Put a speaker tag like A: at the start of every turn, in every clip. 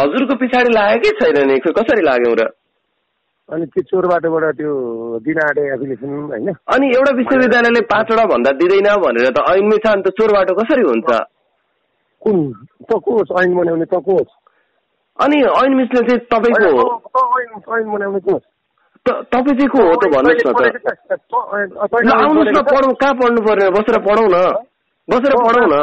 A: हजुरको पछाडि लाग्यो कि छैन नि खोइ कसरी लाग्यौँ र
B: अनि त्यो चोर बाटोबाट त्यो दिन आँटे एप्लिकेसन होइन
A: अनि एउटा विश्वविद्यालयले पाँचवटा भन्दा दिँदैन भनेर त ऐनमै छ अन्त चोर बाटो कसरी हुन्छ
B: कुन त को होस् ऐन बनाउने त को होस्
A: अनि ऐन मिसले चाहिँ
B: होइन,
A: तपाईँको
B: त- त ऐन- ऐन बनाउने को होस्?
A: त- तपाईँ चाहिँ को हो त भन्नुहोस् न त ल आउनुहोस् न पढौँ कहाँ पढ्नु पर्ने बसेर पढौँ न बसेर पढौँ न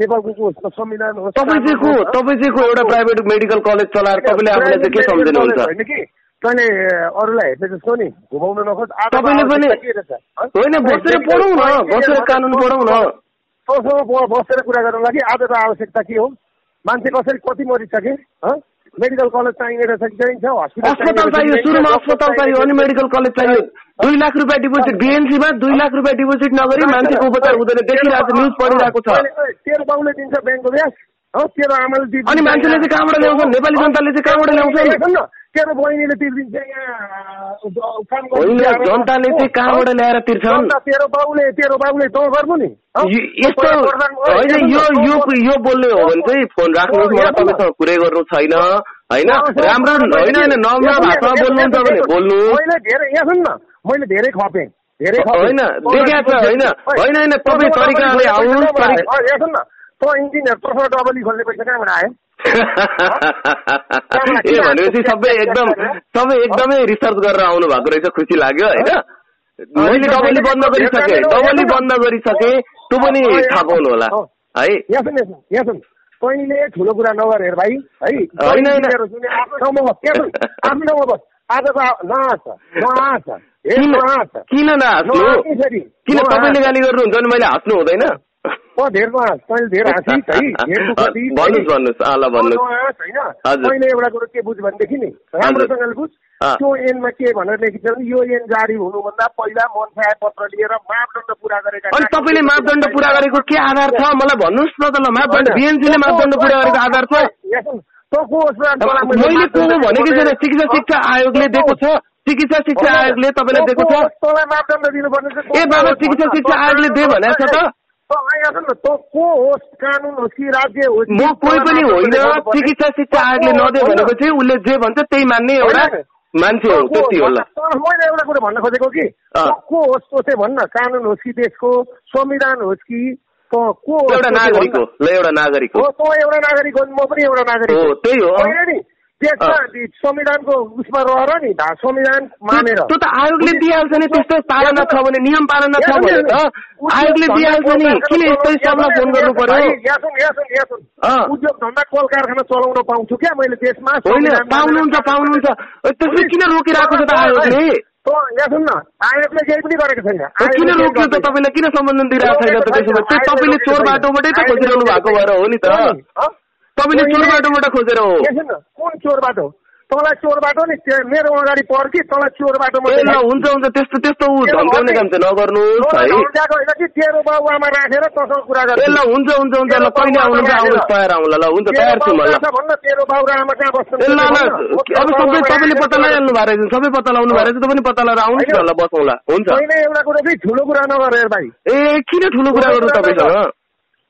B: नेपालको को होस्? न संविधान होस्,
A: तपाईँ चाहिँ को
B: कानुन होस्,
A: तपाईँ चाहिँ को एउटा प्राइभेट मेडिकल कलेज चलाएर तपाईँले आफूलाई चाहिँ के
B: प्राइभेट
A: सम्झिनुहुन्छ
B: होइन कि तैँले अरूलाई हेर्ने जस्तो नि घुमाउन नखोज आज
A: तपाईँले
B: अब
A: पनि-
B: आवश्यकता के रहेछ? हँ?
A: होइन बसेर
B: प्राइभेट
A: पढौँ न
B: मेडिकल
A: बसेर
B: कलेज
A: कानुन
B: हो,
A: पढौँ न
B: तँसँग ब- बसेर कुरा गर्नु लागि आज त आवश्यकता के हो मान्छे कसरी कति मरिसके हँ? मेडिकल कलेज चाहिने रहेछ कि चाहिन्छ हस्पिटल
A: अस्पताल
B: चाहिने
A: चाहियो
B: रहेछ कि
A: सुरुमा
B: चाहिन्छ,
A: अस्पताल
B: डक्टर
A: चाहियो अनि
B: चाहिने
A: मेडिकल कलेज चाहियो दुई लाख रुपियाँ डिपोजिट बिएनसीमा दुई लाख रुपियाँ डिपोजिट नगरी मान्छेको उपचार हुँदैन देखिरहेको छ न्युज पढिरहेको छ
B: अहिले- अहिले तेरो बाउले दिन्छ ब्याङ्कको ब्याज हँ तेरो आमाले दिन्छ
A: अनि मान्छेले चाहिँ कहाँबाट ल्याउँछन्? नेपाली जनताले चाहिँ कहाँबाट ल्याउँछन्?
B: न तेरो बहिनीले तिर्दिन्छ यहाँ अ, काम गर्ने
A: होइन,
B: आमा-
A: जनताले चाहिँ कहाँबाट ल्याएर तिर्छन्?
B: जनता तेरो बाउले तेरो बाउले तँ गर्नु नि हँ?
A: यो- यस्तो
B: तँ प्रधान- ओ,
A: होइन
B: हेर्नु न,
A: यो
B: तँ
A: यो
B: गर्नु।
A: यो बोल्ने हो भने चाहिँ फोन राख्नुहोस् मलाई
B: हेर्नु न।
A: तपाईँसँग कुरै गर्नु छैन होइन
B: अब
A: राम्रो
B: सर,
A: होइन होइन नम्र
B: यहाँ-
A: भाषामा
B: यहाँ-
A: बोल्नुहुन्छ
B: यहाँ-
A: भने बोल्नु
B: मैले धेरै यहाँ सुन न मैले धेरै खपेँ धेरै खपेँ।
A: होइन, देखा छ, होइन, होइन, होइन, तपाईँ तरिकाले आउनुहोस्, तरिक-
B: यहाँ सुन न त इन्जिनियर तसँग डबली खोल्ने पैसा कहाँबाट आयो
A: ए भनेपछि सबै एकदम सबै एकदमै रिसर्च गरेर आउनु भएको रहेछ खुसी लाग्यो होइन मैले डबली बन्द गरिसकेँ डबली बन्द गरिसकेँ त्यो पनि थाहा पाउनु होला है
B: यहाँ सुन यहाँ सुन यहाँ सुन तैँले ठुलो कुरा नगर हेर भाइ है
A: होइन, होइन।
B: इन्जिनियर हो सुने, आफ्नो ठाउँमा बस यहाँ सुन आफ्नो ठाउँमा बस आज त नहाँस नहाँस हे
A: किन
B: नहाँस
A: किन नहाँस्नु
B: नहाँस्नु फेरि,
A: किन
B: नहाँस।
A: तपाईँले गाली गर्नुहुन्छ भने मैले हाँस्नु हुँदैन
B: अँ, धेर नहाँस तैँले धेर हाँसिस है धेर दुःख दिइस्, है।
A: भन्नुहोस् भन्नुहोस् अँ ल भन्नुहोस्
B: तँ नहाँस,
A: हजुर।
B: होइन तैँले एउटा कुरो के बुझ भनेदेखि नि राम्रोसँगले बुझ
A: अँ।
B: त्यो एनमा के भनेर लेखिन्छ भने यो एन जारी हुनुभन्दा पहिला मनसाय पत्र लिएर मापदण्ड पुरा गरेका
A: अनि तपाईँले मापदण्ड पुरा गरेको के आधार छ मलाई भन्नुहोस् न त ल मापदण्ड बिएनसीले मापदण्ड पुरा गरेको आधार छ अब मैले को हो भनेकै छैन चिकित्सा शिक्षा आयोगले दिएको छ चिकित्सा शिक्षा आयोगले तपाईँलाई दिएको छ
B: छ
A: ए बाबा, चिकित्सा शिक्षा आयोगले दे भनेको छ त?
B: त को होस् कानुन होस् कि राज्य होस्
A: म कोही पनि होइन चिकित्सा शिक्षा आयोगले नदियो भनेपछि उसले जे भन्छ त्यही मान्ने एउटा
B: होइन।
A: मान्छे हो त्यति होला
B: मैले एउटा कुरो भन्न खोजेको कि
A: अँ।
B: त को होस् त्यो चाहिँ भन्न कानुन होस् कि देशको संविधान होस् कि त को होस्
A: एउटा
B: त्यो चाहिँ
A: नागरिक हो
B: भन्न।
A: ल एउटा नागरिक हो
B: हो तँ एउटा नागरिक हो म पनि एउटा नागरिक
A: हो, त्यही हो।
B: होइन नि देशमा
A: अँ।
B: नि संविधानको उसमा रहेर नि धा- संविधान मानेर
A: त्यो त आयोगले दिइहाल्छ नि त्यस्तो पालना छ भने नियम पालना छ भने त आयोगले दिइहाल्छ नि किन यस्तो हिसाबमा फोन गर्नु पर्यो
B: यहाँ सुन, यहाँ सुन, यहाँ सुन।
A: अँ।
B: उद्योग धन्दा कल कारखाना चलाउन पाउँछु क्या मैले देशमा
A: होइन
B: संविधान मानेर-
A: पाउनुहुन्छ पाउनुहुन्छ ए, त्यसले किन रोकिरहेको छ त आयोगले
B: तँ यहाँ सुन न आयोगले केही पनि गरेको छैन
A: ए, किन
B: आयोगले केही
A: रोक्यो त
B: गरेको छैन।
A: तपाईँलाई किन सम्बन्धन दिइरहेको छैन त त्यसो भए त्यो तपाईँले चोर बाटोबाटै त खोजिरहनु भएको भएर हो नि त
B: हँ?
A: तपाईँले चोर
B: मैले-
A: बाटोबाट खोजेर हो
B: यहाँ सुन न, कुन चोर बाटो तँलाई चोर बाटो नि त्यो मेरो अगाडि पढ कि तँलाई चोर बाटो
A: ए ल हुन्छ हुन्छ त्यस्तो त्यस्तो ऊ धम्काउने काम चाहिँ नगर्नुहोस् है
B: होइन कि तेरो बाउ आमा राखेर तँसँग कुरा
A: ए
B: गर्छु
A: ल हुन्छ हुन्छ हुन्छ ल कहिले आउनुहुन्छ आउनुहोस् तयार आउँला ल हुन्छ
B: तेरो
A: तयार छु म ल
B: बाउ कहाँ छ भन्न, तेरो बाउ र आमा कहाँ बस्छन्
A: ए ल ल
B: हो, तेरो
A: अब सबै
B: बाउ आमा
A: तपाईँले
B: राखेर
A: पत्ता
B: कुरा
A: लगाइहाल्नु भएको रहेछ सबै पत्ता लगाउनु भएको रहेछ तपाईँ पत्ता लगाएर आउनुहोस् न ल बसौँला हुन्छ
B: मैले एउटा कुरो चाहिँ ठुलो कुरा नगर हेर भाइ
A: ए किन ठुलो कुरा गर्नु तपाईँसँग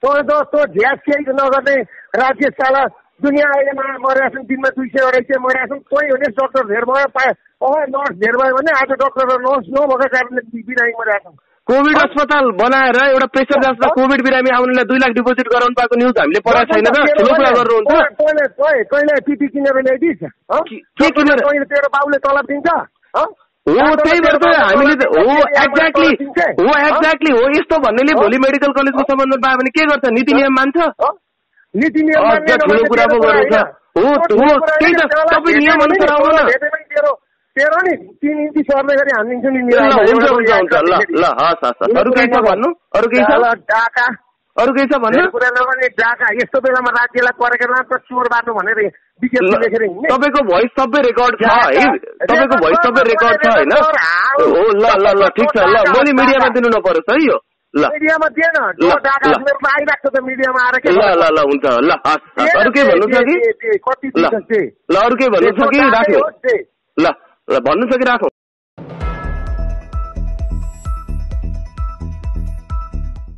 B: तँ त तँ झ्यास केही नगर्ने राज्य साला दुनियाँ अहिले मा मरेका छन् दिनमा दुई सय अढाई सय मरेका छन् कोही हुने डक्टर धेर भयो पा अह नर्स धेर भयो भने आज डक्टर र नर्स नभएको कारणले बि- बिरामी मरेका छन्
A: कोभिड अस्पताल बनाएर एउटा प्रेसर जाँच्दा कोभिड बिरामी आउनेलाई दुई लाख डिपोजिट गराउनु भएको न्युज हामीले पढाएको छैन त ठुलो कुरा गर्नुहुन्छ
B: तँ- तँले तँ- तँले पिपी किनेर ल्याइदिस् हँ?
A: के- के किनेर?
B: तँले तेरो बाउले तलब दिन्छ हँ?
A: हो त्यही भएर त हामीले त- हो एक्ज्याक्टली हो
B: हँ?
A: एक्ज्याक्टली हो यस्तो भन्नेले
B: हो?
A: भोलि मेडिकल कलेजको सम्बन्धन पायो भने के गर्छ नीति नियम मान्छ
B: हँ? नीति नियम
A: अझ
B: मान्ने
A: ठुलो
B: नभए
A: कुरा
B: तेरो
A: पो गरेको छ।
B: कुरा होइन।
A: हो,
B: तँ ठुलो
A: हो,
B: कुरा
A: त्यही त,
B: होइन, त्यसलाई
A: तपाईँ नियम
B: भेट्यो
A: अनुसार आउनु न।
B: भने तेरो तेरो नि तिन इन्ची सर्ने गरी हानिदिन्छु नि
A: ल
B: निराला।
A: हुन्छ
B: एउटा
A: हुन्छ हुन्छ ल ल हस् हस् हस् अरू केही छ भन्नु अरू केही छ
B: ल, डाका
A: अरू केही छ भन्नु
B: मेरो कुरा नगर्ने डाका यस्तो बेलामा राज्यलाई परेको लान्छ चोर बाटो भनेर विज्ञप्ति
A: ल,
B: लेखेर हिँड्ने
A: तपाईँको भोइस सबै रेकर्ड छ है तपाईँको भोइस सबै रेकर्ड छ होइन हो ल ल ल ठिक छ ल भोलि मिडियामा दिनु नपरोस् है यो ल
B: मिडियामा दिएन
A: ल,
B: त्यो डाका
A: ल।
B: मेरोमा आइरहेको छ त मिडियामा आएर के
A: ल
B: गर्नु?
A: ल ल हुन्छ ल हस् हस्।
B: दिएन,
A: अरू केही
B: दिए,
A: भन्नु छ
B: दिए,
A: कि
B: दिए, दिए, कति
A: ल
B: दिन्छ
A: ल अरू केही भन्नु छ कि राख्नु
B: राख्नु
A: ल ल भन्नु छ कि राख्नु